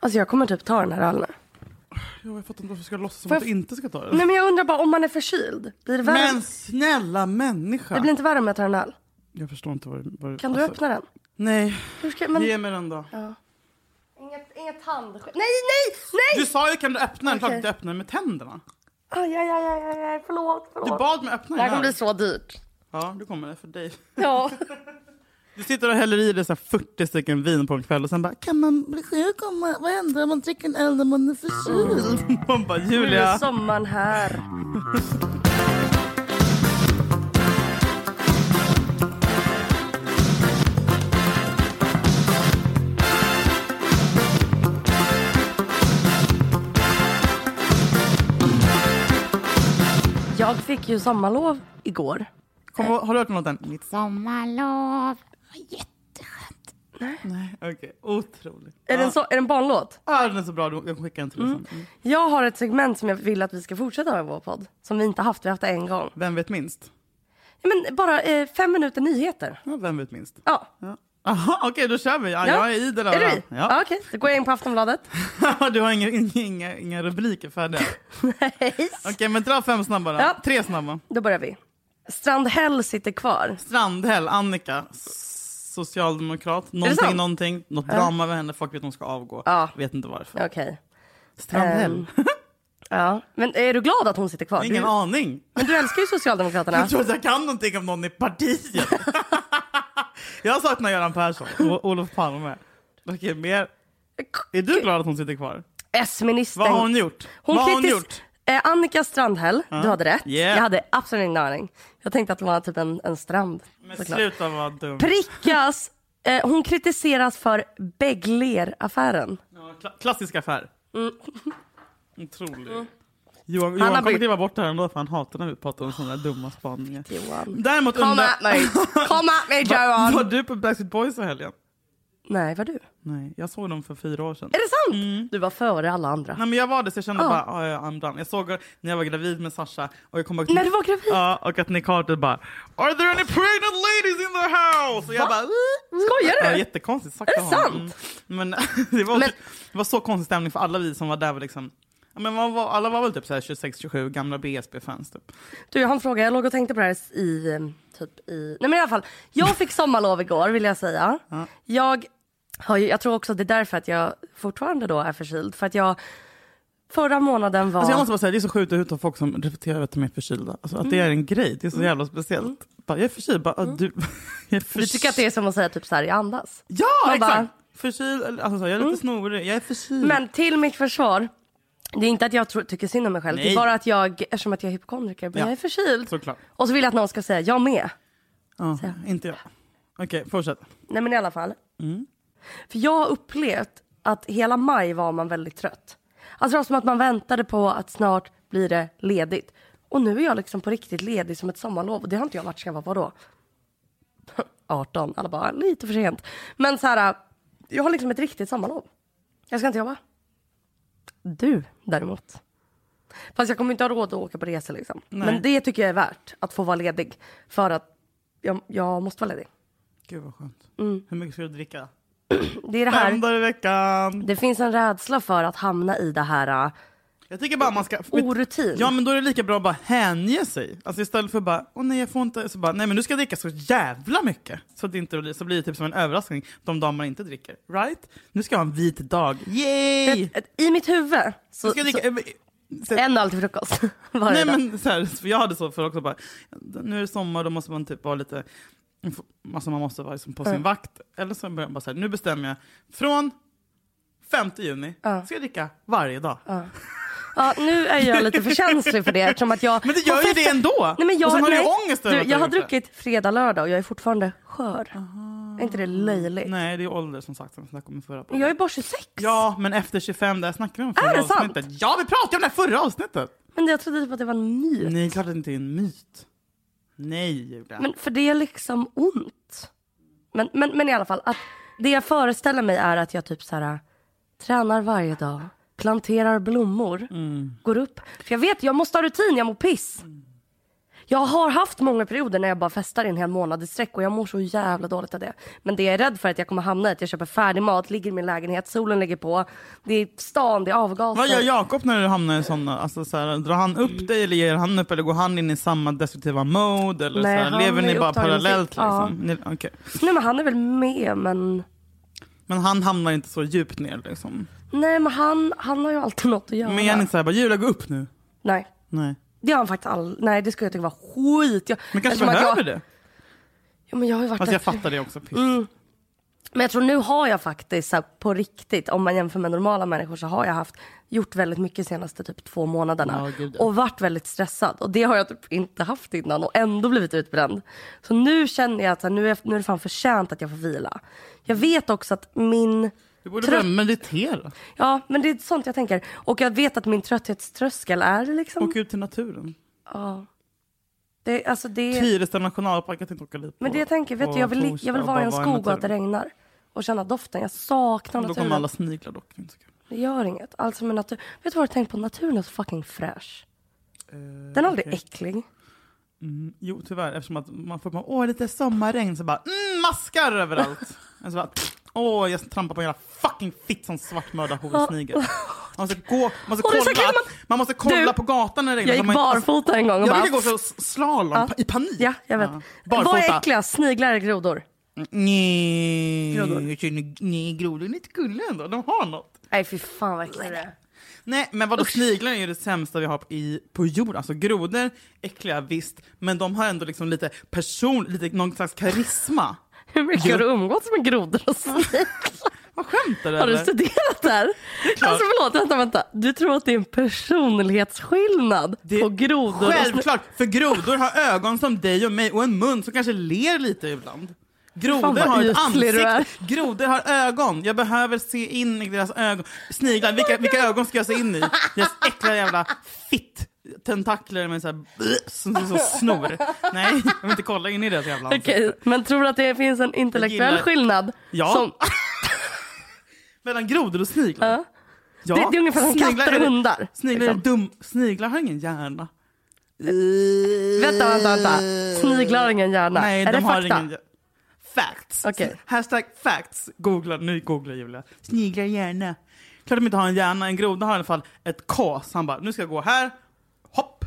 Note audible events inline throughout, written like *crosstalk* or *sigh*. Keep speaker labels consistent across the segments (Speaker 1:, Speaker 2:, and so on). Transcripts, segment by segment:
Speaker 1: Alltså jag kommer typ ta den här ölen nu.
Speaker 2: Jag fattar inte varför jag ska låtsas som
Speaker 1: Får
Speaker 2: att
Speaker 1: jag-
Speaker 2: du inte ska ta den.
Speaker 1: Nej men jag undrar bara om man är förkyld. Blir det värre?
Speaker 2: Men snälla människa!
Speaker 1: Det blir inte värre om jag tar en öl.
Speaker 2: Jag förstår inte vad du... Vad du
Speaker 1: Kan du
Speaker 2: alltså-
Speaker 1: öppna den?
Speaker 2: Nej,
Speaker 1: Hur ska, men...
Speaker 2: ge mig den då.
Speaker 1: Inget, inget handskydd. Nej, nej, nej!
Speaker 2: Du sa ju kan du öppna den, klart
Speaker 1: Okej.
Speaker 2: att du öppnar den med tänderna.
Speaker 1: Aj, aj, aj, aj, aj, aj, förlåt,
Speaker 2: Du
Speaker 1: förlåt.
Speaker 2: bad mig öppna
Speaker 1: Det här
Speaker 2: den
Speaker 1: kommer bli så
Speaker 2: här.
Speaker 1: dyrt.
Speaker 2: Ja, du kommer det för dig.
Speaker 1: *laughs* Ja.
Speaker 2: Du sitter och häller i dig så här 40 stycken vin på en kväll och sen bara kan man bli sjuk om man, vad händer om man dricker en öl när man är förkyld?
Speaker 1: *laughs*
Speaker 2: Man bara
Speaker 1: Nu är
Speaker 2: Julia,
Speaker 1: sommaren här. Jag fick ju sommarlov igår.
Speaker 2: kom, ihåg- har du hört om låten? Mitt
Speaker 3: Sommarlov. Vad Jätteskönt.
Speaker 2: Nej, okej. Otroligt.
Speaker 1: Är det en, så, är det en barnlåt?
Speaker 2: Ja, den är så bra. Du- Jag kan skicka en till dig sen. Mm.
Speaker 1: Jag har ett segment som jag vill att vi ska fortsätta med i vår podd. Som vi inte haft, vi har haft det en gång.
Speaker 2: Vem vet minst?
Speaker 1: Men bara eh, fem minuter nyheter.
Speaker 2: Ja, vem vet minst?
Speaker 1: Ja.
Speaker 2: Ja. Aha, okej, då kör vi. Ja, Jag är idel
Speaker 1: Är du
Speaker 2: överallt.
Speaker 1: i? Ja. Ah, Okej, då går jag in på
Speaker 2: *laughs*
Speaker 1: Aftonbladet.
Speaker 2: Ja. Du har inga, inga, inga
Speaker 1: *laughs*
Speaker 2: rubriker färdiga.
Speaker 1: Nej.
Speaker 2: Okej, men dra fem snabba då.
Speaker 1: Ja.
Speaker 2: Tre snabba.
Speaker 1: Då börjar vi. Strandhäll sitter kvar.
Speaker 2: Strandhäll, Annika, s- socialdemokrat. Någonting,
Speaker 1: sant?
Speaker 2: någonting. Något drama med henne. Folk vet att hon ska avgå.
Speaker 1: Ja. Ehm.
Speaker 2: Vet inte varför.
Speaker 1: Okej.
Speaker 2: Strandhäll.
Speaker 1: Ja. Men är du glad att hon sitter kvar? *laughs*
Speaker 2: Ingen
Speaker 1: Du,
Speaker 2: aning.
Speaker 1: men du älskar ju Socialdemokraterna.
Speaker 2: Jag tror att jag kan någonting om någon i partiet. *laughs* jag saknar
Speaker 1: *laughs*
Speaker 2: Göran Persson och Olof Palme. Okej, mer. Är du glad att hon sitter kvar?
Speaker 1: S-ministern.
Speaker 2: Vad har hon gjort?
Speaker 1: Hon
Speaker 2: Vad har hon
Speaker 1: kritis-
Speaker 2: gjort?
Speaker 1: Eh, Annika Strandhäll, du hade rätt.
Speaker 2: Yeah.
Speaker 1: Jag hade absolut ingen aning. Jag tänkte att det var typ en, en strand.
Speaker 2: Men
Speaker 1: såklart.
Speaker 2: sluta vara dum.
Speaker 1: Prickas. Eh, hon kritiseras för Begler-affären.
Speaker 2: Ja, kla- klassisk affär. Otrolig.
Speaker 1: Mm.
Speaker 2: Johan,
Speaker 1: har
Speaker 2: Johan kommer
Speaker 1: blivit-
Speaker 2: kliva bort det här ändå för han hatar när vi pratar om sådana där dumma spaningar.
Speaker 1: Johan.
Speaker 2: Däremot
Speaker 1: Kom
Speaker 2: undrar...
Speaker 1: at mig! Kom at mig
Speaker 2: *laughs* Va- Var
Speaker 1: Johan!
Speaker 2: du på Backstreet Boys i helgen?
Speaker 1: Nej, var du?
Speaker 2: Nej, jag såg dem för fyra år sedan.
Speaker 1: Är det sant? Du var före alla andra.
Speaker 2: Nej Mm. men jag var det så jag kände
Speaker 1: Ja.
Speaker 2: bara oh, yeah, I'm done. Jag såg när jag var gravid med Sasha och jag kom ihåg att-
Speaker 1: När du var gravid?
Speaker 2: Ja, och att Nick Carter bara Are there any pregnant ladies in the house? Och jag bara
Speaker 1: Skojar
Speaker 2: Ja,
Speaker 1: du?
Speaker 2: jättekonstigt sagt
Speaker 1: Är det
Speaker 2: av honom.
Speaker 1: sant?
Speaker 2: Mm. Men, *laughs* det var,
Speaker 1: Men-
Speaker 2: det var så konstig stämning för alla vi som var där var liksom ja, men man var, alla var väl typ 26-27 gamla BSB-fans typ.
Speaker 1: Du, jag har en fråga. Jag låg och tänkte på det här i... eh, Typ i... Nej men i alla fall. Jag fick sommarlov igår vill jag säga. Jag, har ju, jag tror också att det är därför att jag fortfarande då är förkyld. För att jag förra månaden var...
Speaker 2: Alltså jag måste bara säga, det är så sjukt att utan folk som reflekterar över att de är förkylda. Alltså att
Speaker 1: Mm.
Speaker 2: det är en grej, det är så jävla speciellt. Bara, jag är förkyld, bara, du, *laughs* jag är förkyld.
Speaker 1: Du Mm. tycker att det är som att säga typ så här, jag andas.
Speaker 2: Ja,
Speaker 1: Man bara- Mm.
Speaker 2: exakt! Förkyld, eller, alltså, så här, jag är lite snorig, jag är förkyld.
Speaker 1: Men till mitt försvar. Det är inte att jag tror, tycker synd om mig själv. Det
Speaker 2: Nej.
Speaker 1: är bara att jag, eftersom att jag är hypokondriker, men
Speaker 2: Ja.
Speaker 1: jag är förkyld.
Speaker 2: Såklart.
Speaker 1: Och så vill jag att någon ska säga, jag med.
Speaker 2: Ja, inte jag. Okej, fortsätt.
Speaker 1: Nej men i alla fall. För jag har upplevt att hela maj var man väldigt trött. Alltså det var som att man väntade på att snart blir det ledigt. Och nu är jag liksom på riktigt ledig som ett sommarlov. Och det har inte jag varit sedan jag var vadå? *laughs* 18. Alla bara lite för sent. Men så här, jag har liksom ett riktigt sommarlov. Jag ska inte jobba. Du däremot. Fast jag kommer inte ha råd att åka på resor liksom. Men det tycker jag är värt. Att få vara ledig. För att jag, jag måste vara ledig.
Speaker 2: Gud vad skönt. Hur mycket ska du dricka?
Speaker 1: Det är det Mm. här.
Speaker 2: Fem dagar i veckan.
Speaker 1: Det finns en rädsla för att hamna i det här äh,
Speaker 2: Jag tycker bara man ska...
Speaker 1: orutin.
Speaker 2: Ja men då är det lika bra att bara hänge sig. Alltså istället för att bara, åh nej jag får inte, så bara, nej men nu ska jag dricka så jävla mycket. Så, att det inte blir, så blir det typ som en överraskning de dagar man inte dricker. Right? Nu ska jag ha en vit dag. Yay!
Speaker 1: Ett- ett- I mitt huvud
Speaker 2: Nu
Speaker 1: så,
Speaker 2: ska jag dricka,
Speaker 1: så
Speaker 2: eh, men, så,
Speaker 1: en öl till frukost *laughs* varje
Speaker 2: nej
Speaker 1: dag.
Speaker 2: men så här, för jag hade så för också bara, nu är det sommar då måste man typ vara lite, alltså man måste vara liksom på sin vakt. Eller så börjar man bara så här, nu bestämmer jag, från 5 juni ska jag dricka varje dag.
Speaker 1: Ja, nu är jag lite för känslig
Speaker 2: *laughs*
Speaker 1: för det eftersom att jag...
Speaker 2: Men det gör ju det ändå!
Speaker 1: Nej, men jag,
Speaker 2: och sen har
Speaker 1: nej,
Speaker 2: du ju ångest över
Speaker 1: du,
Speaker 2: att du
Speaker 1: Jag har
Speaker 2: gjort det.
Speaker 1: druckit fredag, lördag och jag är fortfarande skör. Är inte det löjligt?
Speaker 2: Nej, det är ålder som sagt som vi snackade om i förra
Speaker 1: Men
Speaker 2: podden.
Speaker 1: Jag är bara 26.
Speaker 2: Ja, men efter 25, där snackade vi om förra
Speaker 1: Är det sant?
Speaker 2: avsnittet. Ja, vi pratade om det här förra avsnittet!
Speaker 1: Men jag trodde typ att det var en myt.
Speaker 2: Nej, klart att det inte är en myt. Nej, Julia.
Speaker 1: Men för det är liksom ont. Men, men, men i alla fall, att det jag föreställer mig är att jag typ så här tränar varje dag,
Speaker 2: Mm.
Speaker 1: planterar blommor, går upp. För jag vet, jag måste ha rutin, jag mår piss. Jag har haft många perioder när jag bara festar i en hel månad i sträck och jag mår så jävla dåligt av det. Men det jag är rädd för är att jag kommer hamna i att jag köper färdig mat, ligger i min lägenhet, solen ligger på, det är stan, det är avgaser.
Speaker 2: Vad gör Jakob när du hamnar i sådana? Alltså, så här, drar han
Speaker 1: Mm.
Speaker 2: upp dig eller ger han upp? Eller går han in i samma destruktiva mode? Eller,
Speaker 1: Nej,
Speaker 2: så här,
Speaker 1: han
Speaker 2: lever
Speaker 1: är
Speaker 2: ni bara
Speaker 1: upptagen med
Speaker 2: parallellt?
Speaker 1: sitt. Ja.
Speaker 2: Liksom? Ni, okej.
Speaker 1: Nej men han är väl med men...
Speaker 2: Men han hamnar inte så djupt ner liksom?
Speaker 1: Nej men han, han har ju alltid något att göra.
Speaker 2: Men är han inte såhär bara “Julia gå upp nu”?
Speaker 1: Nej.
Speaker 2: Nej.
Speaker 1: Det har han faktiskt all... Nej det skulle jag tycka var skit. Jag,
Speaker 2: Men kanske
Speaker 1: eftersom att
Speaker 2: behöver
Speaker 1: jag... Mm.
Speaker 2: det?
Speaker 1: Ja, men jag har ju varit
Speaker 2: Alltså jag
Speaker 1: efter-
Speaker 2: fattar det också. Piss.
Speaker 1: Men jag tror nu har jag faktiskt så här, på riktigt, om man jämför med normala människor så har jag haft gjort väldigt mycket senaste typ två månaderna.
Speaker 2: Ja, gud, ja.
Speaker 1: och varit väldigt stressad. Och det har jag typ inte haft innan och ändå blivit utbränd. Så nu känner jag att så här, nu är, nu är det fan förtjänt att jag får vila. Jag vet också att min...
Speaker 2: Du borde
Speaker 1: Trött.
Speaker 2: börja meditera.
Speaker 1: Ja, men det är sånt jag tänker. Och jag vet att min trötthetströskel är liksom...
Speaker 2: Åka ut till naturen.
Speaker 1: Det, alltså det...
Speaker 2: Tyresta nationalpark, jag tänkte åka dit på
Speaker 1: Men det jag tänker, vet
Speaker 2: på
Speaker 1: du, jag vill,
Speaker 2: torsdag
Speaker 1: jag vill
Speaker 2: och
Speaker 1: vara i en
Speaker 2: bara
Speaker 1: skog och att det
Speaker 2: naturen.
Speaker 1: regnar. Och känna doften. Jag saknar
Speaker 2: Då kommer
Speaker 1: naturen.
Speaker 2: alla sniglar dock. Det är inte så kul.
Speaker 1: Det gör inget. Alltså med natur... Vet du vad jag har tänkt på? Naturen är så fucking fräsch. Den är aldrig
Speaker 2: Eh, okej.
Speaker 1: äcklig.
Speaker 2: Jo tyvärr, eftersom att man får bara, åh lite sommarregn, så bara mm,
Speaker 1: *laughs*
Speaker 2: maskar överallt. Och så bara, åh jag trampar på en jävla fucking fitt som svartmörda horsnigel. Man måste gå, man måste
Speaker 1: Och det är så
Speaker 2: kolla,
Speaker 1: kul,
Speaker 2: man,
Speaker 1: man-
Speaker 2: måste kolla
Speaker 1: Du,
Speaker 2: på gatan när det regnar.
Speaker 1: Jag
Speaker 2: så man- alltså,
Speaker 1: gick barfota en gång och
Speaker 2: jag
Speaker 1: bara...
Speaker 2: brukar gå så slalom
Speaker 1: Ja.
Speaker 2: pa- i panik.
Speaker 1: Ja, jag vet. Vad är
Speaker 2: Barfota.
Speaker 1: äckligast? Sniglar eller grodor?
Speaker 2: Nej,
Speaker 1: Grodor.
Speaker 2: jag känner- nej, grodor är lite gulliga ändå, de har något.
Speaker 1: Nej, fy fan vad äckligt det är.
Speaker 2: Nej men vadå sniglar är ju det sämsta vi har i, på jorden. Alltså grodor, äckliga visst, men de har ändå liksom lite person, lite någon slags karisma.
Speaker 1: Hur mycket har du umgåtts med grodor och sniglar?
Speaker 2: Vad skämtar du
Speaker 1: Har du
Speaker 2: eller?
Speaker 1: studerat det här?
Speaker 2: klart.
Speaker 1: Alltså förlåt, vänta, vänta. Du tror att det är en personlighetsskillnad
Speaker 2: Det-
Speaker 1: på grodor och sniglar?
Speaker 2: Självklart, för grodor har ögon som dig och mig och en mun som kanske ler lite ibland.
Speaker 1: Fan,
Speaker 2: Grodor
Speaker 1: vad
Speaker 2: har ett
Speaker 1: ytlig du
Speaker 2: ansikte, grodor har ögon. Jag behöver se in i deras ögon. Sniglar, vilka, vilka ögon ska jag se in i? Deras äckliga jävla fitt tentakler med så här, som ser ut som snor. Nej, jag vill inte kolla in i deras jävla ansikte.
Speaker 1: Okej, men tror du att det finns en intellektuell
Speaker 2: gillar-
Speaker 1: skillnad?
Speaker 2: Ja.
Speaker 1: Som,
Speaker 2: Mellan grodor och sniglar?
Speaker 1: Ja.
Speaker 2: Ja,
Speaker 1: det, det är ungefär som
Speaker 2: sniglar
Speaker 1: katter och
Speaker 2: är-
Speaker 1: hundar.
Speaker 2: Sniglar, är
Speaker 1: liksom.
Speaker 2: dum, sniglar har ingen hjärna.
Speaker 1: Vänta, vänta, vänta. Sniglar har ingen hjärna.
Speaker 2: Nej,
Speaker 1: är
Speaker 2: de
Speaker 1: det
Speaker 2: har
Speaker 1: fakta?
Speaker 2: ingen... Facts.
Speaker 1: Okej.
Speaker 2: Hashtag facts. Googla, nu googlar Julia. Sniglar hjärna. Klart de inte har en hjärna. En groda har i alla fall ett K. Så han bara, nu ska jag gå här. Hopp.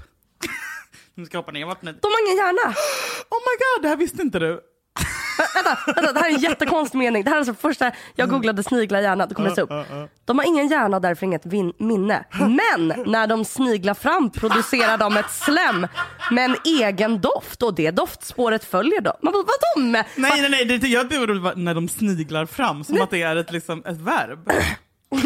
Speaker 2: *laughs* nu ska jag hoppa ner i vattnet.
Speaker 1: De har ingen hjärna.
Speaker 2: Oh my god, det här visste inte du.
Speaker 1: Vänta, det här är en jättekonstig mening. Det här är så första jag
Speaker 2: Mm.
Speaker 1: googlade sniglar hjärna, då kom det så upp. De har ingen hjärna och därför inget vin- minne. Men när de sniglar fram producerar de ett slem med en egen doft och det doftspåret följer dem. Man bara, vadå med?
Speaker 2: Nej, nej, nej. Det, jag blev orolig när de sniglar fram. Som att det är ett, liksom, ett verb.
Speaker 1: *laughs*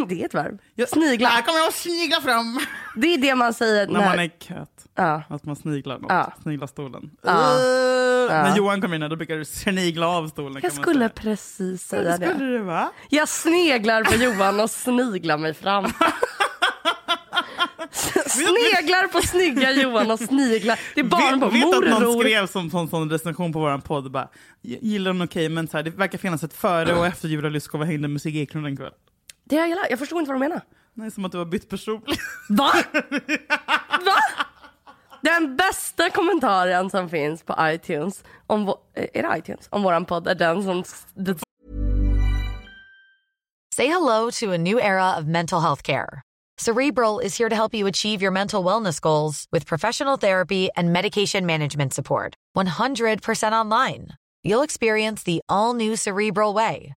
Speaker 1: Det är ett verb.
Speaker 2: Jag-
Speaker 1: Sniglar.
Speaker 2: Här kommer jag att snigla fram.
Speaker 1: Det är det man säger
Speaker 2: När man
Speaker 1: när...
Speaker 2: är kät.
Speaker 1: Ja.
Speaker 2: Att man sniglar något.
Speaker 1: Ja.
Speaker 2: Sniglar stolen.
Speaker 1: Ja.
Speaker 2: Uh, När Johan kom in här, då brukar du snigla av stolen. kan
Speaker 1: Jag
Speaker 2: man
Speaker 1: skulle
Speaker 2: säga.
Speaker 1: precis säga
Speaker 2: Skulle
Speaker 1: det.
Speaker 2: du va?
Speaker 1: Jag sneglar på Johan och sniglar mig
Speaker 2: *laughs*
Speaker 1: fram. Sneglar på snygga Johan och sniglar. Det är barn på
Speaker 2: vet, vet att någon
Speaker 1: morror.
Speaker 2: skrev som sån, sån recension på våran podd bara, "G- gillar den okej men så här, det verkar finnas ett före och efter Julia Lyskova hängde med Sigge Eklund en kväll.
Speaker 1: Det jag gillar. Jag förstår inte vad de menar.
Speaker 2: Nej, som att du har bytt person. *laughs*
Speaker 1: Va? Va? Den bästa kommentaren som finns på iTunes, om vå- eh, är det iTunes? Om våran podd är den som... s- det-
Speaker 4: Say hello to a new era of mental health care. Cerebral is here to help you achieve your mental wellness goals with professional therapy and medication management support. 100% online. You'll experience the all new Cerebral Way,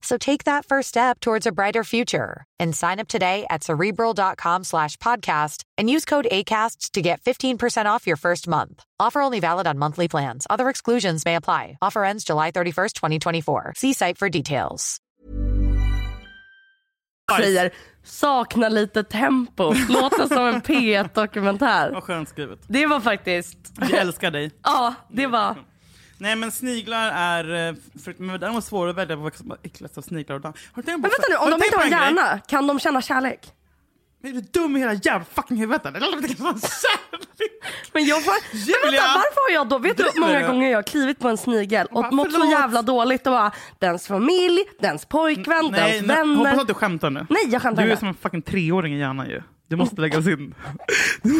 Speaker 4: So take that first step towards a brighter future and sign up today at cerebral.com slash podcast and use code ACAST to get 15% off your first month. Offer only valid on monthly plans. Other exclusions may apply. Offer ends July 31st, 2024. See site for details.
Speaker 1: säger saknar lite tempo. Låter som en P1-dokumentär.
Speaker 2: *laughs* Vad skönt skrivet.
Speaker 1: Det var faktiskt...
Speaker 2: Vi älskar dig.
Speaker 1: Ja, det var...
Speaker 2: Nej men sniglar är... eh, För, men däremot svårare att välja vad som är äckligast av sniglar och damm. Har du tänkt på-
Speaker 1: Men vänta nu, om
Speaker 2: du
Speaker 1: de
Speaker 2: tänkt
Speaker 1: inte har en
Speaker 2: på grej?
Speaker 1: hjärna, kan de känna kärlek?
Speaker 2: Men Är du dum i hela jävla fucking huvudet eller? Det kan vara kärlek.
Speaker 1: Men jag får,
Speaker 2: Julia!
Speaker 1: men vänta, varför har jag då, vet du hur
Speaker 2: Driver
Speaker 1: många
Speaker 2: du?
Speaker 1: gånger jag har klivit på en snigel och
Speaker 2: Va,
Speaker 1: mått så
Speaker 2: förlåt.
Speaker 1: jävla dåligt och bara, dens familj, dens pojkvän,
Speaker 2: Nej,
Speaker 1: dens
Speaker 2: nej, hoppas
Speaker 1: vänner.
Speaker 2: att du skämtar Oh. nu.
Speaker 1: Nej, jag skämtar
Speaker 2: Du är
Speaker 1: inte.
Speaker 2: som en fucking treåring i hjärnan ju. Du måste läggas in.
Speaker 1: *laughs*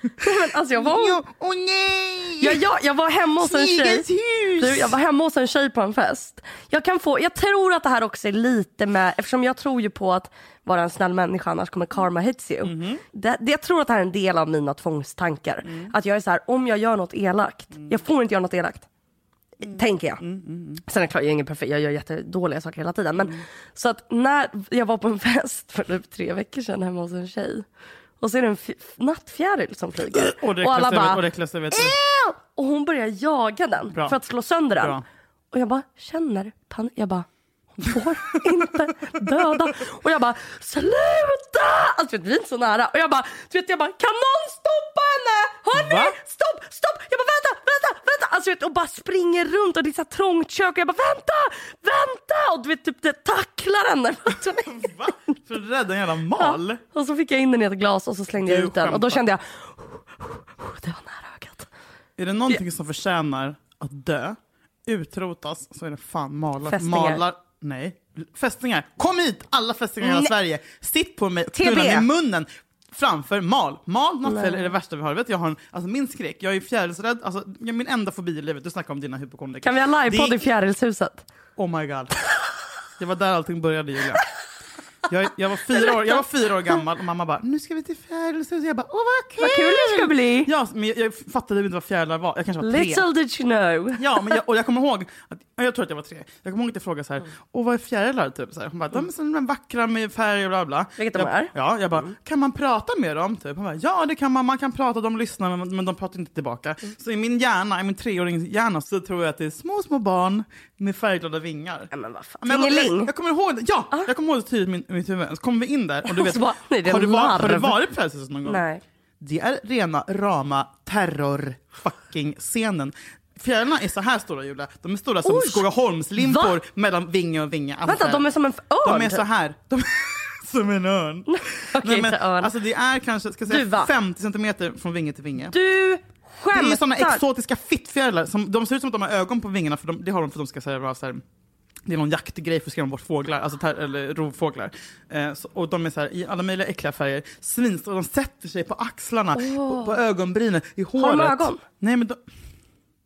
Speaker 1: Men alltså jag var,
Speaker 2: Åh nej!
Speaker 1: jag, jag, jag var hemma hos en tjej.
Speaker 2: Snigelns hus!
Speaker 1: Du, jag var hemma hos en tjej på en fest. Jag, kan få, jag tror att det här också är lite med, eftersom jag tror ju på att vara en snäll människa annars kommer karma hits you.
Speaker 2: Mhm.
Speaker 1: Det, det, jag tror att det här är en del av mina tvångstankar.
Speaker 2: Mm.
Speaker 1: Att jag är så här, om jag gör något elakt, jag får inte göra något elakt.
Speaker 2: Mm.
Speaker 1: Tänker jag. Sen är det klart, jag är ingen perfekt, jag gör jättedåliga saker hela tiden.
Speaker 2: Mm.
Speaker 1: Men, Så att när jag var på en *laughs* fest för typ tre veckor sedan hemma hos en tjej. Och så är det en f- nattfjäril som flyger.
Speaker 2: Och det
Speaker 1: och alla
Speaker 2: äckligaste jag vet-
Speaker 1: bara,
Speaker 2: och det äckligaste jag vet.
Speaker 1: "Ew!" Och hon börjar jaga den
Speaker 2: Bra.
Speaker 1: för att slå sönder den.
Speaker 2: Bra.
Speaker 1: Och jag bara känner panik. Jag bara, hon får inte döda. Och jag bara, sluta! Alltså vet, vi är inte så nära. Och jag bara, du vet, jag bara, kan någon stoppa henne? Hörni,
Speaker 2: Va?
Speaker 1: stopp, stopp! Jag bara, vänta, vänta, vänta! Alltså vet, och bara springer runt och det är så här trångt kök. Och jag bara, vänta, vänta! Och du vet, typ det tacklar henne. *laughs*
Speaker 2: Va? För att rädda en jävla mal?
Speaker 1: Och så fick jag in den i ett glas och så slängde jag
Speaker 2: Du
Speaker 1: ut den. Och då
Speaker 2: skämtar.
Speaker 1: kände jag, "Oh, det var nära ögat.
Speaker 2: Är det någonting som förtjänar att dö, utrotas, så är det fan malar.
Speaker 1: Fästingar.
Speaker 2: malar nej. Fästingar. Kom hit alla fästingar i hela
Speaker 1: Nej.
Speaker 2: Sverige. Sitt på mig och
Speaker 1: TB.
Speaker 2: knulla mig i munnen framför mal. Mal, nattfäll är det värsta vi har. Vet, du, jag har en, alltså min skräck, jag är fjärilsrädd. Alltså, jag- min enda fobi i livet, du snackar om dina hypokondriker.
Speaker 1: Kan vi ha livepodd
Speaker 2: Det
Speaker 1: i
Speaker 2: är-
Speaker 1: Fjärilshuset?
Speaker 2: Oh my god. Det var där allting började Julia. Jag, jag, var fyra år, jag var fyra år gammal och mamma bara, nu ska vi till Fjärilshuset. Jag bara, åh vad kul!
Speaker 1: Vad kul det ska bli!
Speaker 2: Ja, men jag, jag fattade inte vad fjärilar var. Jag kanske var tre.
Speaker 1: Little did you know.
Speaker 2: Ja, men jag, och jag kommer ihåg, att, ja, jag tror att jag var tre, jag kommer ihåg att jag frågade så
Speaker 1: Mm.
Speaker 2: här, och vad är fjärilar? Typ, så här. Hon bara, de är som de vackra med färg och bla bla.
Speaker 1: Vilket de
Speaker 2: jag,
Speaker 1: är. Mm.
Speaker 2: Ja, jag bara, kan man prata med dem? Typ. Hon bara, ja det kan man, man kan prata, de lyssnar men, men de pratar inte tillbaka.
Speaker 1: Mm.
Speaker 2: Så i min hjärna, i min treåringshjärna så tror jag att det är små, små barn med färgglada vingar.
Speaker 1: Ja, men vad fan.
Speaker 2: Men jag, jag,
Speaker 1: Tingeling. Ah.
Speaker 2: jag kommer ihåg det, ja! Jag kommer ihåg det tydligt i min- i mitt huvud. Så kommer vi in där och du
Speaker 1: Och
Speaker 2: vet,
Speaker 1: så bara, nej, det är
Speaker 2: har, du
Speaker 1: en
Speaker 2: varit, har du
Speaker 1: larv.
Speaker 2: varit på Frälsningshuset någon gång?
Speaker 1: Nej.
Speaker 2: Det är rena rama terror-fucking-scenen. Fjärilarna är så här stora Julia, de är stora som
Speaker 1: Oj!
Speaker 2: Skogaholmslimpor
Speaker 1: Va?
Speaker 2: mellan vinge och vinge. Alltså
Speaker 1: Vänta,
Speaker 2: så här.
Speaker 1: de är som en f- örn. typ.
Speaker 2: De är *laughs* så här. De som en örn.
Speaker 1: Okej, så örn.
Speaker 2: Alltså det är kanske ska jag
Speaker 1: Du,
Speaker 2: säga,
Speaker 1: va?
Speaker 2: 50 centimeter från vinge till vinge.
Speaker 1: Du
Speaker 2: det är ju
Speaker 1: skämtar!
Speaker 2: sådana exotiska fittfjärilar, som, de ser ut som att de har ögon på vingarna, för de, det har de för att de ska säga vara så här, det är någon jaktgrej för att skrämma bort fåglar, alltså ter, eller rovfåglar. Eh, så, och de är så här, i alla möjliga äckliga färger, svins, och de sätter sig på axlarna, på, på ögonbrynen, i håret.
Speaker 1: de ögon?
Speaker 2: Nej men de,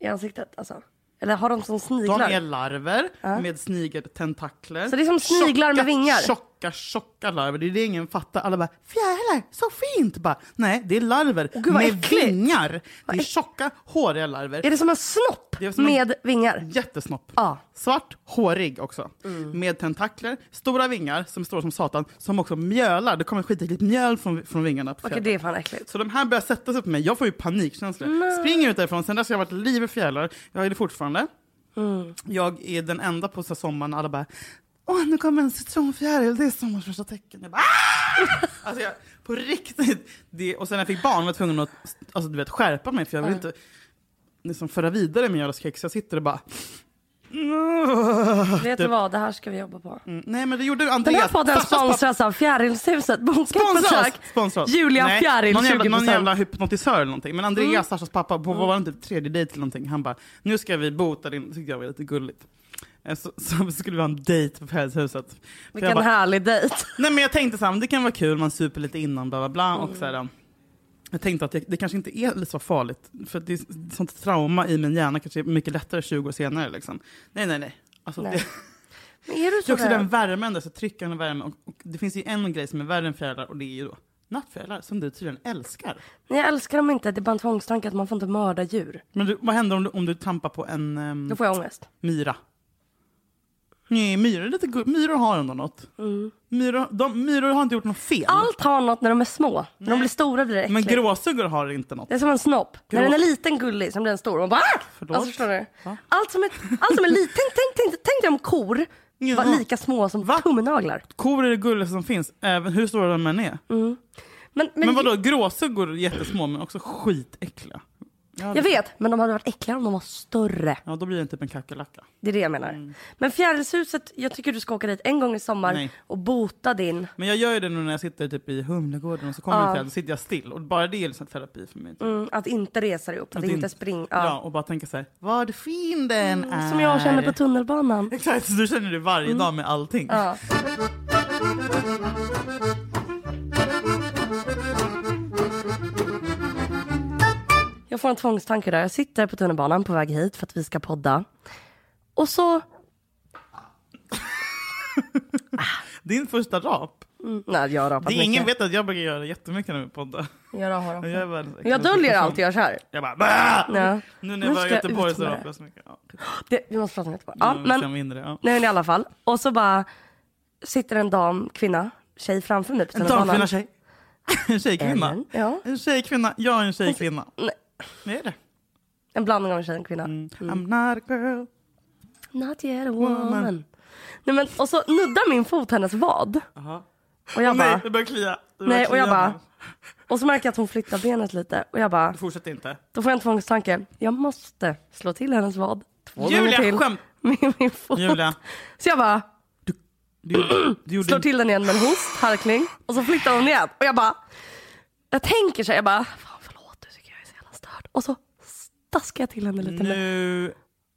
Speaker 1: I ansiktet alltså. Eller har de som
Speaker 2: de
Speaker 1: sniglar?
Speaker 2: är larver med snigeltentakler.
Speaker 1: Så det är som sniglar med
Speaker 2: Tjocka,
Speaker 1: vingar?
Speaker 2: Tjocka, tjocka larver. Det är det ingen fattar. Alla bara “fjärilar, så fint!” bara, Nej, det är larver
Speaker 1: gud, vad
Speaker 2: med
Speaker 1: äckligt.
Speaker 2: vingar. Det är
Speaker 1: äck-
Speaker 2: tjocka, håriga larver.
Speaker 1: Är det som en snopp
Speaker 2: Det är som en-
Speaker 1: med vingar?
Speaker 2: Jättesnopp.
Speaker 1: Ja.
Speaker 2: Svart, hårig också. Med tentakler, stora vingar som är stora som satan, som också mjölar. Det kommer skitäckligt mjöl från, från vingarna. På
Speaker 1: Okej,
Speaker 2: fjärilar.
Speaker 1: det är fan äckligt.
Speaker 2: Så de här börjar sätta sig på mig. Jag får ju panikkänslor. Springer ut därifrån. Sen dess har jag varit liv i fjärilar. Jag är det fortfarande.
Speaker 1: Mm.
Speaker 2: Jag är den enda på så här sommaren. Alla bara Åh, nu kommer en citronfjäril. Det är sommarens första tecken. Jag bara "Ah!" Alltså jag, på riktigt. Det, och sen när jag fick barn var jag tvungen att alltså, du vet, skärpa mig för jag vill inte liksom, föra vidare min jävla skräck. Så jag sitter och bara
Speaker 1: Vet du vad, det här ska vi jobba på.
Speaker 2: Mm, Nej men det gjorde
Speaker 1: Den här
Speaker 2: Andreas.
Speaker 1: podden
Speaker 2: Farsas pappa-
Speaker 1: sponsras av Fjärilshuset. Boka ett
Speaker 2: Sponsra oss!
Speaker 1: besök.
Speaker 2: Sponsra oss.
Speaker 1: Julia
Speaker 2: Nej,
Speaker 1: Fjäril
Speaker 2: någon jävla,
Speaker 1: 20%. Mm.
Speaker 2: någon jävla hypnotisör eller någonting. Men Andreas, Sashas pappa, på var det inte tredje dejt eller någonting? Han bara, nu ska vi bota din... Det tyckte jag var lite gulligt. Eh, Så, så *laughs* skulle vi ha en dejt på Fjärilshuset. För jag
Speaker 1: Vilken
Speaker 2: bara,
Speaker 1: härlig dejt.
Speaker 2: Nej men jag tänkte såhär, det kan vara kul, man super lite innan, bla bla bla. Och så
Speaker 1: Mm.
Speaker 2: här, eh. jag tänkte att det, det kanske inte är så farligt, för att det är sånt trauma i min hjärna kanske är mycket lättare 20 år senare. Liksom. Nej nej nej. Alltså,
Speaker 1: Nej.
Speaker 2: Det,
Speaker 1: Men är du
Speaker 2: det är
Speaker 1: så
Speaker 2: också den
Speaker 1: rädd?
Speaker 2: värmen, där, så tryckande värmen. Och, och det finns ju en grej som är värre än fjärilar och det är ju då nattfjärilar som du tydligen älskar.
Speaker 1: Nej, jag älskar dem inte. Det är bara en tvångstanke att man får inte mörda djur.
Speaker 2: Men du, vad händer om du, om du trampar på en ehm,
Speaker 1: Då får jag ångest.
Speaker 2: myra? Nej, myror är lite gull- Myror har ändå något. Myror, de, myror har inte gjort något fel.
Speaker 1: Mm. Allt har något när de är små. När de blir stora blir det
Speaker 2: men
Speaker 1: äckligt.
Speaker 2: gråsuggor har inte något.
Speaker 1: Det är som en snopp. När
Speaker 2: Grå-
Speaker 1: den är liten gullig så blir den stor. Man bara "Ah!"
Speaker 2: Förlåt?
Speaker 1: alltså, förstår du?
Speaker 2: Va?
Speaker 1: Allt som är, allt som är litet. Tänk, tänk, tänk, tänk dig om kor var
Speaker 2: Ja.
Speaker 1: lika små som
Speaker 2: Va?
Speaker 1: tummenaglar.
Speaker 2: Kor är det gulligaste som finns, även hur stora de än är.
Speaker 1: Mm. Men, men,
Speaker 2: Men vadå, gråsuggor är jättesmå men också skitäckliga. Ja,
Speaker 1: Jag
Speaker 2: det-
Speaker 1: vet, men de hade varit äckligare om de var större.
Speaker 2: Ja, då blir det typ en kackerlacka.
Speaker 1: Det är det jag menar. Men Fjärilshuset, jag tycker du ska åka dit en gång i sommar
Speaker 2: Mm. Nej.
Speaker 1: och bota din...
Speaker 2: Men jag gör ju det nu när jag sitter typ i Humlegården och så kommer
Speaker 1: Ja.
Speaker 2: det fjäll, då sitter jag still. Och bara det är liksom terapi för mig. Typ.
Speaker 1: Mm, att inte resa dig upp, att,
Speaker 2: Att
Speaker 1: inte
Speaker 2: inte-
Speaker 1: springa.
Speaker 2: Ja.
Speaker 1: Ja. Mm,
Speaker 2: och bara tänka så här, vad fin den är. *laughs*
Speaker 1: Som jag känner på tunnelbanan.
Speaker 2: Exakt, så du känner det varje dag med allting.
Speaker 1: Ja. Jag får en tvångstanke där. Jag sitter på tunnelbanan på väg hit för att vi ska podda. Och så...
Speaker 2: Din första rap.
Speaker 1: Mm, nej, jag har rapat
Speaker 2: Det är ingen
Speaker 1: mycket.
Speaker 2: vet att jag brukar göra jättemycket när vi poddar. *laughs*
Speaker 1: Jag, har rapat.
Speaker 2: Jag, är världens
Speaker 1: jag
Speaker 2: äckligaste
Speaker 1: döljer
Speaker 2: person.
Speaker 1: allt jag kör.
Speaker 2: Jag bara bah!
Speaker 1: Ja.
Speaker 2: Nu
Speaker 1: Nu
Speaker 2: när jag var
Speaker 1: ska
Speaker 2: i
Speaker 1: jag
Speaker 2: Göteborg
Speaker 1: ut
Speaker 2: så
Speaker 1: med det.
Speaker 2: rapade jag så mycket. Ja, typ.
Speaker 1: Det, vi måste prata om Göteborg. Ja,
Speaker 2: Nu ser jag
Speaker 1: men,
Speaker 2: mindre, ja.
Speaker 1: nej, men i alla fall. Och så bara sitter en dam, kvinna, tjej framför mig på
Speaker 2: En damkvinna
Speaker 1: tunnelbanan.
Speaker 2: tjej. *laughs* En tjejkvinna.
Speaker 1: Ellen, ja.
Speaker 2: En tjejkvinna. Jag är en tjejkvinna.
Speaker 1: Nej. Mm.
Speaker 2: Det är det.
Speaker 1: En blandning av en tjej och en kvinna.
Speaker 2: Mm. I'm not a girl.
Speaker 1: Not yet a woman. Nej, men, och så nuddar min fot hennes vad.
Speaker 2: Aha.
Speaker 1: Och jag
Speaker 2: Nej,
Speaker 1: bara...
Speaker 2: det börjar klia. Det börjar
Speaker 1: Nej, och
Speaker 2: klia
Speaker 1: jag bara...
Speaker 2: nu.
Speaker 1: Och så märker jag att hon flyttar benet lite. Och jag bara...
Speaker 2: Fortsätt inte.
Speaker 1: Då får jag en tvångstanke. Jag måste slå till hennes vad. Två gånger
Speaker 2: Julia,
Speaker 1: till.
Speaker 2: skämt!
Speaker 1: Med min fot.
Speaker 2: Julia,
Speaker 1: Så jag bara...
Speaker 2: du, du gjorde
Speaker 1: slår till den igen med en host, harkling. Och så flyttar hon igen. Och jag bara... Jag tänker så här, jag bara... Fan förlåt, du tycker jag är så jävla störd. Och så staskar jag till henne lite. Med.
Speaker 2: nu...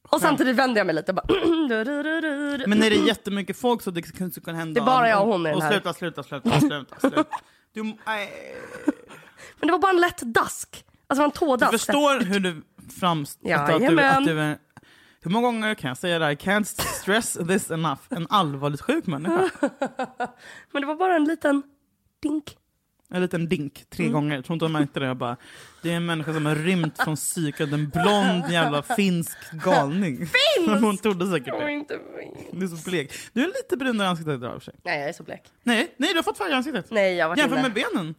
Speaker 1: Och samtidigt vänder jag mig lite. Bara, *clears throat* du, du, du, du, du.
Speaker 2: Men är det jättemycket folk så det kan, så kan hända...
Speaker 1: Det är bara jag och hon i den
Speaker 2: och
Speaker 1: här.
Speaker 2: sluta, sluta, sluta, sluta, sluta. Du, nej.
Speaker 1: Men det var bara en lätt dask. Alltså det var en tådask.
Speaker 2: du förstår hur du framstår... Att du,
Speaker 1: Jajamän.
Speaker 2: att du, är- hur många gånger kan jag säga det här? I can't stress this enough. En allvarligt sjuk människa.
Speaker 1: Men det var bara en liten dink.
Speaker 2: En liten dink tre
Speaker 1: Mm.
Speaker 2: gånger. Jag tror inte de märkte det. Jag bara, det är en människa som har rymt från psyket. En blond jävla finsk galning. Finsk! *laughs* Hon trodde säkert
Speaker 1: Jag är
Speaker 2: det.
Speaker 1: inte fin.
Speaker 2: Du är så blek. Du är lite brunare i ansiktet idag i och för sig.
Speaker 1: Nej, jag är så blek.
Speaker 2: Nej, nej du har fått färg i ansiktet.
Speaker 1: Nej, jag var
Speaker 2: Jämför
Speaker 1: inne.
Speaker 2: med benen.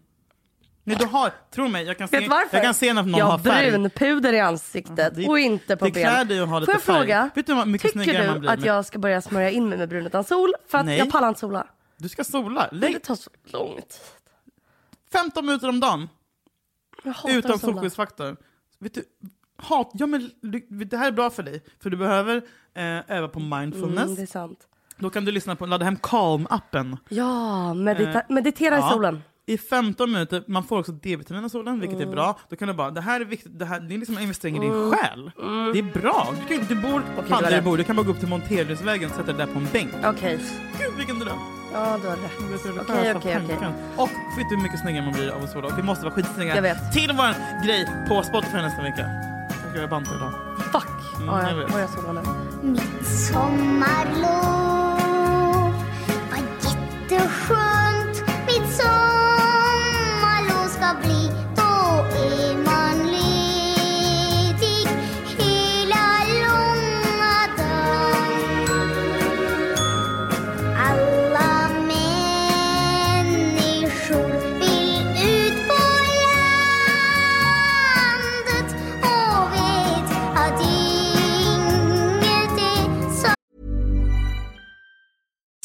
Speaker 2: Nej du har, tro mig, jag kan
Speaker 1: Vet
Speaker 2: se,
Speaker 1: du varför?
Speaker 2: jag kan se när någon
Speaker 1: jag
Speaker 2: har färg.
Speaker 1: brunpuder i ansiktet
Speaker 2: Det-
Speaker 1: och inte på
Speaker 2: det
Speaker 1: ben.
Speaker 2: klär dig att ha lite
Speaker 1: Får jag
Speaker 2: färg.
Speaker 1: fråga,
Speaker 2: Vet du hur mycket
Speaker 1: tycker
Speaker 2: snyggare
Speaker 1: du
Speaker 2: man blir
Speaker 1: att
Speaker 2: med-
Speaker 1: jag ska börja smörja in mig med brun utan sol? För att
Speaker 2: Nej.
Speaker 1: jag pallar inte sola.
Speaker 2: Du ska sola.
Speaker 1: Men det
Speaker 2: Lägg
Speaker 1: tar så lång tid.
Speaker 2: 15 minuter om dagen
Speaker 1: Jag hatar
Speaker 2: utan
Speaker 1: att sola.
Speaker 2: solskyddsfaktor. Vet du, hat, ja men du- det här är bra för dig. För du behöver eh, öva på mindfulness.
Speaker 1: Mm, det är sant.
Speaker 2: Då kan du lyssna på, ladda hem Calm-appen.
Speaker 1: Ja, medita-
Speaker 2: Eh,
Speaker 1: meditera i solen.
Speaker 2: I 15 minuter, man får också D-vitamin av solen, vilket
Speaker 1: Mm.
Speaker 2: är bra. Då kan du bara, det här är viktigt, det, här, det är liksom en investering i din själ. Det är bra. Du, kan, du bor fan
Speaker 1: du har
Speaker 2: där du
Speaker 1: rätt.
Speaker 2: bor, du kan bara gå upp till Monteriusvägen och sätta dig där på en bänk.
Speaker 1: Okej.
Speaker 2: Gud vilken dröm!
Speaker 1: Ja, du har rätt. Okej, okej, okej.
Speaker 2: Och vet du hur mycket snyggare man blir av att sola? Och Vi måste vara skitsnygga.
Speaker 1: Jag vet.
Speaker 2: Till vår grej på Spotify nästa vecka. Jag ska göra band till idag.
Speaker 1: Fuck!
Speaker 2: Mm,
Speaker 1: ja,
Speaker 2: jag
Speaker 1: jag,
Speaker 2: vet.
Speaker 1: och jag solar nu.
Speaker 3: Mitt sommarlov var jätteskönt Mitt sommarlov ska bli Då är man ledig hela långa dagen alla människor vill ut på landet och vet att inget är så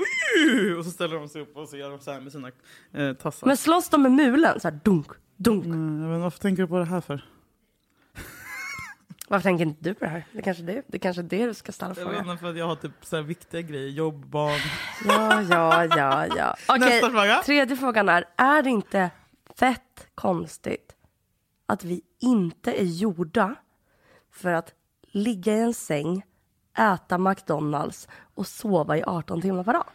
Speaker 2: "Wii!" och så ställer de sig upp och så gör de så här med sina eh, tassar.
Speaker 1: Men slåss de med mulen? Så här, dunk, dunk.
Speaker 2: Mm, men varför tänker du på det här för?
Speaker 1: Varför tänker inte du på det här? Det kanske är det, det, kanske är det du ska ställa
Speaker 2: Jag vet
Speaker 1: frågan.
Speaker 2: inte, för att jag har typ så här viktiga grejer, jobb, barn.
Speaker 1: Ja, ja, ja, ja. Okej,
Speaker 2: *laughs* Nästa fråga.
Speaker 1: tredje frågan är, är det inte fett konstigt att vi inte är gjorda för att ligga i en säng, äta McDonalds och sova i 18 timmar per dag?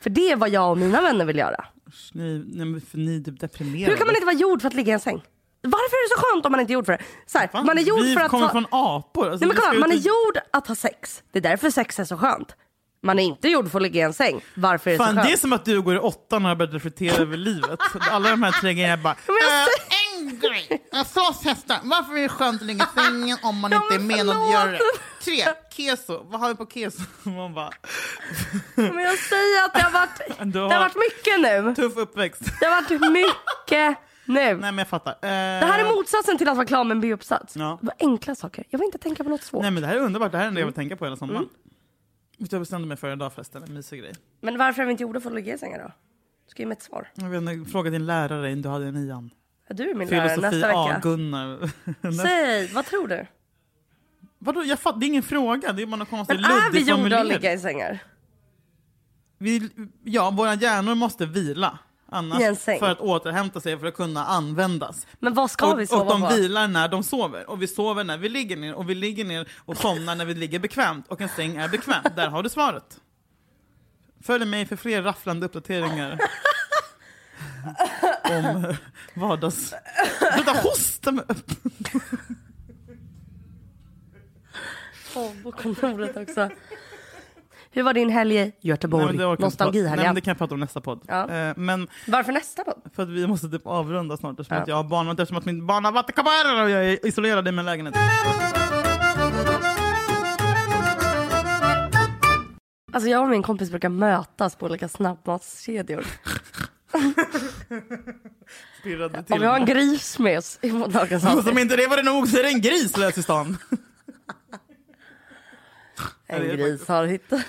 Speaker 1: För det är vad jag och mina vänner vill göra.
Speaker 2: Usch, Ni, nej, men för ni är typ deprimerade.
Speaker 1: Hur kan man inte vara gjord för att ligga i en säng? Varför är det så skönt om man inte är gjord för det? Så här,
Speaker 2: Fan,
Speaker 1: man är gjord
Speaker 2: vi
Speaker 1: för att
Speaker 2: kommer
Speaker 1: ta...
Speaker 2: från apor. Alltså,
Speaker 1: Nej men
Speaker 2: vi ska
Speaker 1: kolla, man är
Speaker 2: ut i-
Speaker 1: gjord att ha sex. Det är därför sex är så skönt. Man är inte gjord för att ligga i en säng. Varför är det
Speaker 2: Fan,
Speaker 1: så
Speaker 2: det är
Speaker 1: skönt?
Speaker 2: som att du går i åttan och har börjat reflektera över livet. Alla de här tre grejerna bara...
Speaker 1: Men jag
Speaker 2: "Eh,
Speaker 1: säger-
Speaker 2: en grej. Jag sa hästar. Varför är det skönt att ligga i sängen om man
Speaker 1: Ja,
Speaker 2: inte är
Speaker 1: men
Speaker 2: menad att
Speaker 1: förlåt.
Speaker 2: göra det? Tre, keso. Vad har vi på keso? *laughs* Man bara,
Speaker 1: Men jag säger att det har
Speaker 2: *laughs*
Speaker 1: varit,
Speaker 2: Du
Speaker 1: det
Speaker 2: har-
Speaker 1: har varit mycket nu. *laughs*
Speaker 2: tuff uppväxt.
Speaker 1: Det har varit mycket nu.
Speaker 2: Nej men jag fattar. Eh,
Speaker 1: Det här är motsatsen till att vara klar med en B-uppsats.
Speaker 2: Ja.
Speaker 1: Det var enkla saker. Jag vill inte tänka på något svårt.
Speaker 2: Nej men det här är underbart. Det här är det jag vill tänka på hela sommaren.
Speaker 1: Mm.
Speaker 2: Vet du, Jag bestämde mig för idag förresten, en mysig grej.
Speaker 1: Men varför är vi inte gjorda för att ligga i sängen då? Du ska ge mig ett svar.
Speaker 2: Jag vet inte, fråga din lärare om du hade en nian.
Speaker 1: Är du min lärare
Speaker 2: Filosofi
Speaker 1: nästa
Speaker 2: A,
Speaker 1: vecka?
Speaker 2: Gunnar. *laughs*
Speaker 1: Säg, vad tror du?
Speaker 2: Vadå, jag fatt, det är ingen fråga. Det är bara någon konstig
Speaker 1: Men är vi
Speaker 2: luddig
Speaker 1: gjorda att
Speaker 2: formulering.
Speaker 1: ligga i sängar?
Speaker 2: vi, ja, våra hjärnor måste vila annars
Speaker 1: I en säng.
Speaker 2: för att återhämta sig för att kunna användas.
Speaker 1: Men vad ska
Speaker 2: och,
Speaker 1: vi sova
Speaker 2: och de
Speaker 1: på?
Speaker 2: vilar när de sover och vi sover när vi ligger ner och vi ligger ner och somnar när vi ligger bekvämt och en säng är bekväm. Där har du svaret. Följ mig för fler rafflande uppdateringar. om eh, vardags... Sluta hosta! med-
Speaker 1: på kontoret också. Hur var din helg i
Speaker 2: Nej,
Speaker 1: Göteborg?
Speaker 2: men det orkar jag inte prata- Nej,
Speaker 1: Nostalgihelgen.
Speaker 2: men det kan jag prata om nästa podd.
Speaker 1: Ja.
Speaker 2: Eh, men
Speaker 1: Varför nästa då?
Speaker 2: för att vi måste typ avrunda snart eftersom
Speaker 1: Ja.
Speaker 2: att jag har barnvakt eftersom att min barn har vattenkammare och jag är isolerad i min lägenhet.
Speaker 1: Alltså jag och min kompis brukar mötas på olika snabbmatskedjor.
Speaker 2: Spirrade till.
Speaker 1: Om vi har en gris med oss i dagens
Speaker 2: Och *laughs* som
Speaker 1: avsnitt.
Speaker 2: inte det var det nog så är det en gris lös i stan.
Speaker 1: En gris har hittat.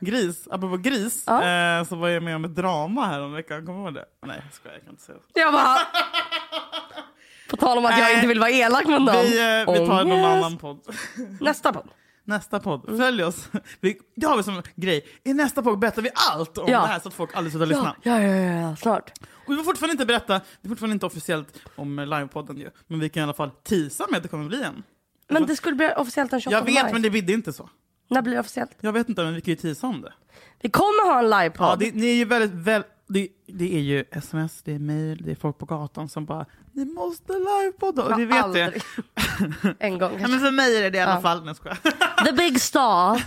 Speaker 2: Gris, apropå gris,
Speaker 1: Ja.
Speaker 2: eh, så var jag med om ett drama här om veckan. Kommer du ihåg det? Nej jag skojar, jag kan inte säga det.
Speaker 1: Jag bara... På tal om att jag
Speaker 2: Nej.
Speaker 1: inte vill vara elak mot någon.
Speaker 2: Vi, eh, vi tar någon
Speaker 1: Ångest.
Speaker 2: annan podd. *laughs*
Speaker 1: Nästa podd.
Speaker 2: Nästa podd,
Speaker 1: Mm.
Speaker 2: följ oss. *laughs* Vi, det har vi som grej. I nästa podd berättar vi allt om
Speaker 1: Ja.
Speaker 2: det här så att folk aldrig slutar lyssna.
Speaker 1: Ja, ja, ja, ja, snart.
Speaker 2: Och vi får fortfarande inte berätta, det är fortfarande inte officiellt om eh, livepodden ju. Men vi kan i alla fall tisa med att det kommer bli en.
Speaker 1: Men det skulle bli officiellt den 28
Speaker 2: Jag vet
Speaker 1: maj.
Speaker 2: men det bidde inte så.
Speaker 1: När blir det officiellt?
Speaker 2: Jag vet inte men vi kan ju tisa om det.
Speaker 1: Vi kommer ha en
Speaker 2: Ja,
Speaker 1: livepodd.
Speaker 2: det, ni är ju väldigt, väl, det, det är ju sms, det är mail, det är folk på gatan som bara ni måste livepodda och vi vet det.
Speaker 1: Aldrig. en gång
Speaker 2: *laughs* Ja,
Speaker 1: kanske.
Speaker 2: men för mig är det det i alla fall. Nej, jag *laughs* skojar.
Speaker 1: The Big Star.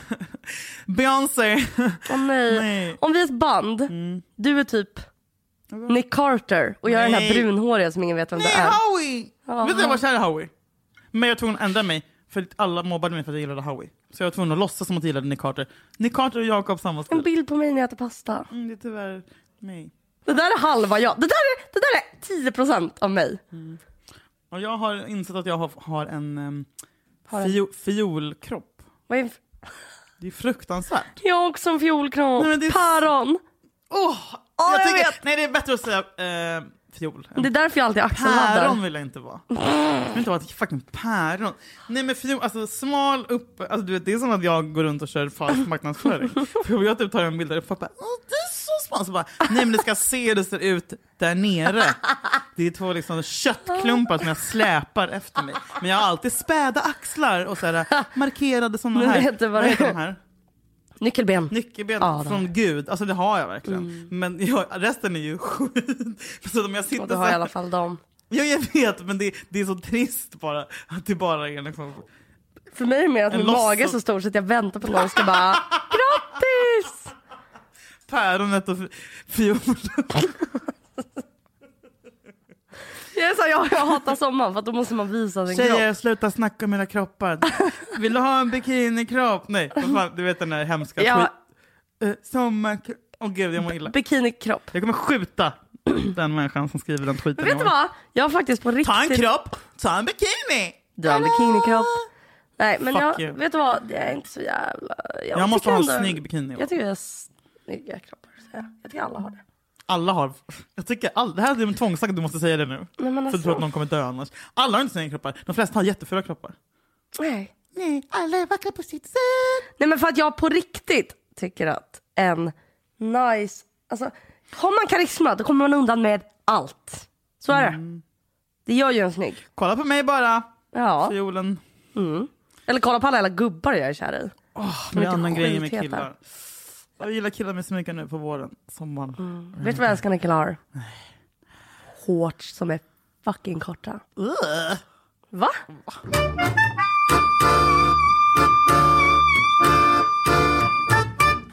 Speaker 2: Beyoncé.
Speaker 1: Åh nej.
Speaker 2: Nej. Mm.
Speaker 1: Om vi är ett band, du är typ Nick Carter och jag är den här
Speaker 2: Nej.
Speaker 1: brunhåriga som ingen vet vem det
Speaker 2: Nej,
Speaker 1: är.
Speaker 2: Howie! Vet du, jag var kär i Howie. Men jag var tvungen att ändra mig, för att alla mobbade mig för att jag gillade Howie. Så jag var tvungen att låtsas som att jag gillade Nick Carter. Nick Carter och Jakob samma
Speaker 1: En
Speaker 2: stil.
Speaker 1: bild på mig när jag äter pasta.
Speaker 2: Mm, det är tyvärr mig.
Speaker 1: Det där är halva jag. Det där är, det där är 10% av mig.
Speaker 2: Och jag har insett att jag har, har en um,
Speaker 1: en-
Speaker 2: fio, fiolkropp.
Speaker 1: Vad är en f-
Speaker 2: Det är fruktansvärt.
Speaker 1: Jag har också en fiolkropp.
Speaker 2: Nej, men det är-
Speaker 1: Päron.
Speaker 2: Åh!
Speaker 1: jag
Speaker 2: jag tycker,
Speaker 1: vet.
Speaker 2: nej, det är bättre att säga eh, fiol.
Speaker 1: Det är därför jag alltid axelladdar.
Speaker 2: Päron vill jag inte vara. Jag vill inte vara ett fucking päron. Nej men fjol, alltså smal upp, alltså du vet det är som att jag går runt och
Speaker 1: *laughs*
Speaker 2: kör falsk marknadsföring. För jag typ tar en bild där och folk bara Åh, du är så smal. Så bara, nej men det ska se hur det ser ut där nere. Det är två liksom köttklumpar som jag släpar efter mig. Men jag har alltid späda axlar och så här, eh, markerade sådana
Speaker 1: Men
Speaker 2: här.
Speaker 1: vet du vad det
Speaker 2: heter
Speaker 1: är?
Speaker 2: de här?
Speaker 1: Nyckelben.
Speaker 2: Nyckelben
Speaker 1: Ja, det har Mm.
Speaker 2: från Gud, alltså det har jag verkligen. Men jag, resten är ju *laughs* skit. Så om jag sitter
Speaker 1: Och du
Speaker 2: så
Speaker 1: har jag i
Speaker 2: här,
Speaker 1: alla fall dem.
Speaker 2: Ja, jag vet, men det, det är så trist bara att det bara är liksom...
Speaker 1: För mig är det mer att
Speaker 2: En
Speaker 1: min
Speaker 2: loss-
Speaker 1: mage är så stor så att jag väntar på att någon ska bara grattis!
Speaker 2: päronet och fiolen.
Speaker 1: Jag, är så här, jag, jag hatar sommaren för att då måste man visa sin kropp.
Speaker 2: Tjejer, sluta snacka om mina kroppar. Vill du ha en bikinikropp? Nej, vad fan, du vet den där hemska
Speaker 1: Ja.
Speaker 2: ja. Sommarkropp. Åh gud, jag mår illa.
Speaker 1: Bikinikropp.
Speaker 2: Jag kommer skjuta den människan som skriver den tweeten.
Speaker 1: Men vet du
Speaker 2: imorgon.
Speaker 1: vad? Jag har faktiskt på riktigt...
Speaker 2: Ta en kropp, ta en bikini!
Speaker 1: Du har en bikinikropp. Nej men
Speaker 2: Fuck
Speaker 1: jag,
Speaker 2: you.
Speaker 1: vet du vad? Jag är inte så jävla...
Speaker 2: Jag måste
Speaker 1: tycker
Speaker 2: ha en
Speaker 1: ändå-
Speaker 2: snygg bikini.
Speaker 1: Jag tycker jag har snygga kroppar. så jag- Jag tycker alla har det.
Speaker 2: Alla har... Jag tycker all... Det här är en tvångstanke, du måste säga det nu.
Speaker 1: Nej, men
Speaker 2: För du tror att
Speaker 1: alltså,
Speaker 2: någon kommer dö annars. Alla har inte snygga kroppar. De flesta har jättefula kroppar.
Speaker 1: nej.
Speaker 2: Nej, alla är vackra på sitt sätt.
Speaker 1: nej men för att jag på riktigt tycker att en nice... Alltså har man karisma då kommer man undan med allt. Så är det.
Speaker 2: Mm.
Speaker 1: Det gör ju en snygg.
Speaker 2: Kolla på mig bara.
Speaker 1: Ja.
Speaker 2: Fiolen.
Speaker 1: Eller kolla på alla jävla gubbar jag är kär i.
Speaker 2: Det är
Speaker 1: lite
Speaker 2: annan grej med
Speaker 1: skitheta.
Speaker 2: killar. Jag gillar killar med sminka nu på våren. Sommaren.
Speaker 1: Vet du vad jag älskar när killar har? Shorts som är fucking korta.
Speaker 2: Ugh.
Speaker 1: Va?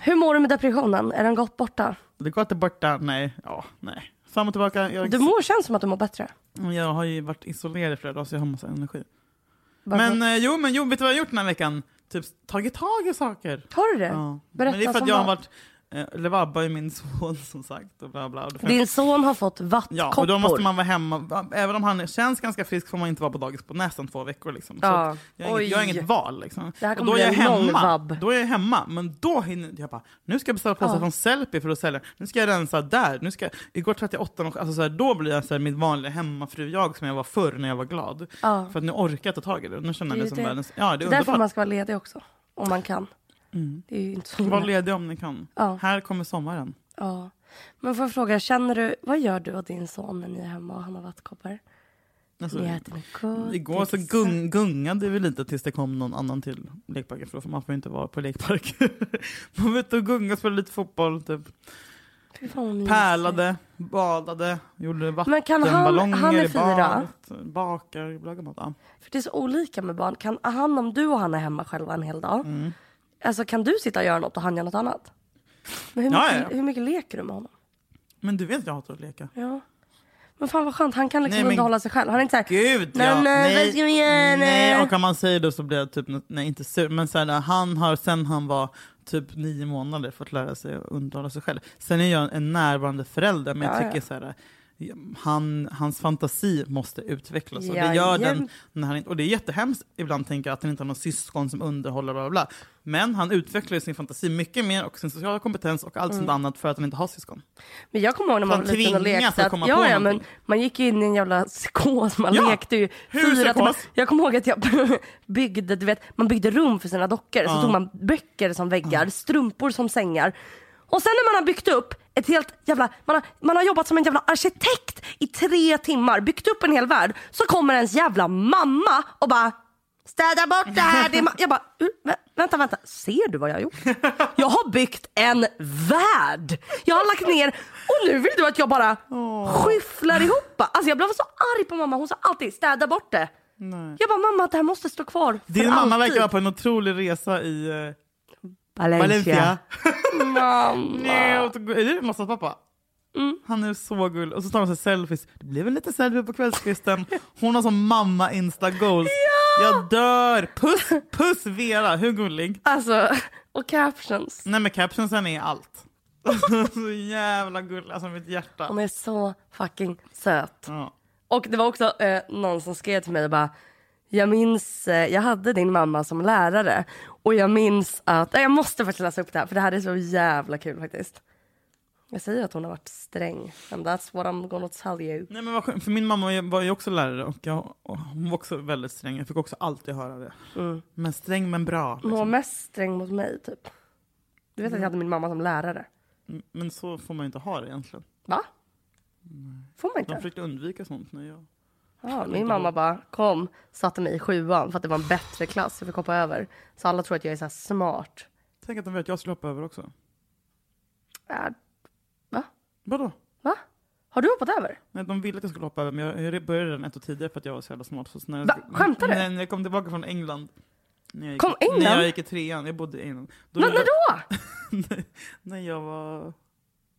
Speaker 1: Hur mår du med depressionen? Är den gått borta?
Speaker 2: Det går inte borta. Nej. Ja, nej. Fram och tillbaka. Jag,
Speaker 1: Du mår känns som att du mår bättre.
Speaker 2: jag har ju varit isolerad i flera dagar så jag har massa energi.
Speaker 1: Varför?
Speaker 2: Men eh, jo, men jo, vet du vad jag har gjort den här veckan? Typ tagit tag i saker.
Speaker 1: Har du det?
Speaker 2: Ja.
Speaker 1: Berätta
Speaker 2: men det är för
Speaker 1: som
Speaker 2: att jag har
Speaker 1: vad.
Speaker 2: varit eh, Levabba är min son som sagt. Och bla bla. Och det-
Speaker 1: Din son har fått
Speaker 2: Ja,
Speaker 1: vattkoppor.
Speaker 2: och då måste man vara hemma. Även om han känns ganska frisk får man inte vara på dagis på nästan två veckor. Liksom. Så
Speaker 1: Ja.
Speaker 2: att jag, har inget, jag har
Speaker 1: Oj.
Speaker 2: inget val. Liksom.
Speaker 1: Det här
Speaker 2: och
Speaker 1: kommer
Speaker 2: då, är jag
Speaker 1: bli en lång
Speaker 2: hemma,
Speaker 1: vabb.
Speaker 2: då är jag hemma, men då hinner jag bara, nu ska jag beställa påsar från Sellpy för att sälja. Nu ska jag rensa där. Nu ska jag, igår 38 och, alltså, så här, Då blir jag så här, mitt vanliga hemmafru-jag som jag var förr när jag var glad. För att nu orkar jag ta tag i det. Nu känner
Speaker 1: Det är
Speaker 2: jag
Speaker 1: ju
Speaker 2: mig som
Speaker 1: det.
Speaker 2: världens... Ja, det
Speaker 1: det
Speaker 2: är
Speaker 1: är därför
Speaker 2: underbart.
Speaker 1: man ska vara ledig också. Om man kan. Det är ju inte så
Speaker 2: Mm. Var
Speaker 1: himla-
Speaker 2: ledig om ni kan.
Speaker 1: Ja.
Speaker 2: Här kommer sommaren.
Speaker 1: Ja. Men får jag fråga, känner du, vad gör du och din son när ni är hemma och han har vattkoppor?
Speaker 2: Alltså,
Speaker 1: Ni äter något gott.
Speaker 2: Igår så
Speaker 1: dricker
Speaker 2: gung, gungade vi lite tills det kom någon annan till lekparken, *laughs*
Speaker 1: Mm,
Speaker 2: för man får ju inte vara på lekparker. man var ute och gungade och spelade lite fotboll. Typ.
Speaker 1: Fy fan vad mysigt.
Speaker 2: Pärlade, badade, gjorde
Speaker 1: Men kan han-
Speaker 2: vattenballonger
Speaker 1: han är
Speaker 2: i
Speaker 1: fyra?
Speaker 2: badet, bakar, lagar mat. Ja.
Speaker 1: För det är så olika med barn. Kan han, om du och han är hemma själva en hel dag,
Speaker 2: Mm.
Speaker 1: alltså kan du sitta och göra något och han gör något annat? Men hur,
Speaker 2: Ja,
Speaker 1: mycket,
Speaker 2: ja.
Speaker 1: hur mycket leker du med honom?
Speaker 2: Men du vet att jag hatar att leka.
Speaker 1: Ja. Men fan vad skönt, han kan liksom
Speaker 2: Nej, men-
Speaker 1: underhålla sig själv. Han är inte såhär,
Speaker 2: Gud
Speaker 1: nej,
Speaker 2: ja!
Speaker 1: nej, eh, vad ska vi göra?
Speaker 2: nej, och om man säger det så blir jag typ, nej inte sur, men så här, han har sen han var typ nio månader fått lära sig att underhålla sig själv. Sen är jag en närvarande förälder, men jag
Speaker 1: Ja, ja.
Speaker 2: tycker så här, han, hans fantasi måste utvecklas och det gör
Speaker 1: Jajamän.
Speaker 2: den. När han, inte- och det är jättehemskt ibland tänker jag att han inte har någon syskon som underhåller bla bla bla. Men han utvecklar ju sin fantasi mycket mer och sin sociala kompetens och
Speaker 1: Mm.
Speaker 2: allt sånt annat för att han inte har syskon.
Speaker 1: Men jag kommer ihåg när man
Speaker 2: Fan,
Speaker 1: var liten och
Speaker 2: tvingas
Speaker 1: lekte.
Speaker 2: att
Speaker 1: Att,
Speaker 2: komma på
Speaker 1: ja, ja, men
Speaker 2: någonting.
Speaker 1: man gick ju in i en jävla psykos. Man
Speaker 2: Ja,
Speaker 1: lekte ju
Speaker 2: hur
Speaker 1: fyra timmar.
Speaker 2: psykos?
Speaker 1: Jag kommer ihåg att jag *laughs* byggde, du vet, man byggde rum för sina dockor. Så tog man böcker som väggar, strumpor som sängar. Och sen när man har byggt upp ett helt jävla, man har, man har jobbat som en jävla arkitekt i tre timmar, byggt upp en hel värld. Så kommer ens jävla mamma och bara Städa bort det här! Det är ma-" jag bara, "Ur- vä- vänta, vänta, ser du vad jag har gjort? Jag har byggt en värld! Jag har lagt ner och nu vill du att jag bara skyfflar ihop. Alltså jag blev så arg på mamma, hon sa alltid städa bort det. Jag bara, mamma det här måste stå kvar för
Speaker 2: Din mamma
Speaker 1: alltid.
Speaker 2: verkar vara på en otrolig resa i eh,
Speaker 1: Valencia.
Speaker 2: Valencia.
Speaker 1: Mamma.
Speaker 2: Nej, och då- är det Mossas pappa? Han är så gullig. Och så tar de sig selfies. Det blev en liten selfie på kvällskvisten. Hon har som mamma insta goals. Jag dör! Puss, puss Vera, hur gullig?
Speaker 1: Alltså, och captions.
Speaker 2: Nej men captionsen är allt. *laughs* så jävla gullig, alltså mitt hjärta.
Speaker 1: Hon är så fucking söt.
Speaker 2: Ja.
Speaker 1: Och det var också eh, någon som skrev till mig och bara jag minns, eh, jag hade din mamma som lärare och jag minns att, eh, jag måste faktiskt läsa upp det här för det här är så jävla kul faktiskt. Jag säger att hon har varit sträng and that's what I'm gonna tell you.
Speaker 2: Nej, men vad skönt, för min mamma var ju också lärare och, jag, och hon var också väldigt sträng. Jag fick också alltid höra det. Men sträng men bra.
Speaker 1: Hon var
Speaker 2: Liksom.
Speaker 1: mest sträng mot mig typ. Du vet att jag hade min mamma som lärare.
Speaker 2: Men så får man ju inte ha det egentligen.
Speaker 1: Va? Får man
Speaker 2: De
Speaker 1: inte?
Speaker 2: försökte undvika sånt när jag...
Speaker 1: Ja, min mamma bara kom, satte mig i sjuan för att det var en bättre klass, jag fick hoppa över. Så alla tror att jag är så här smart.
Speaker 2: Tänk att de vet att jag skulle hoppa över också.
Speaker 1: Äh,
Speaker 2: Vadå?
Speaker 1: va? Har du hoppat över?
Speaker 2: Nej, de ville att jag skulle hoppa över, men jag- jag började redan ett år tidigare för att jag var så jävla smart. Så när jag,
Speaker 1: Va? Skämtar du?
Speaker 2: När, när jag kom tillbaka från England. När jag gick,
Speaker 1: Kom England?
Speaker 2: När jag gick i trean, jag bodde i England. Då
Speaker 1: Men
Speaker 2: ville-
Speaker 1: när då?
Speaker 2: *laughs* När jag var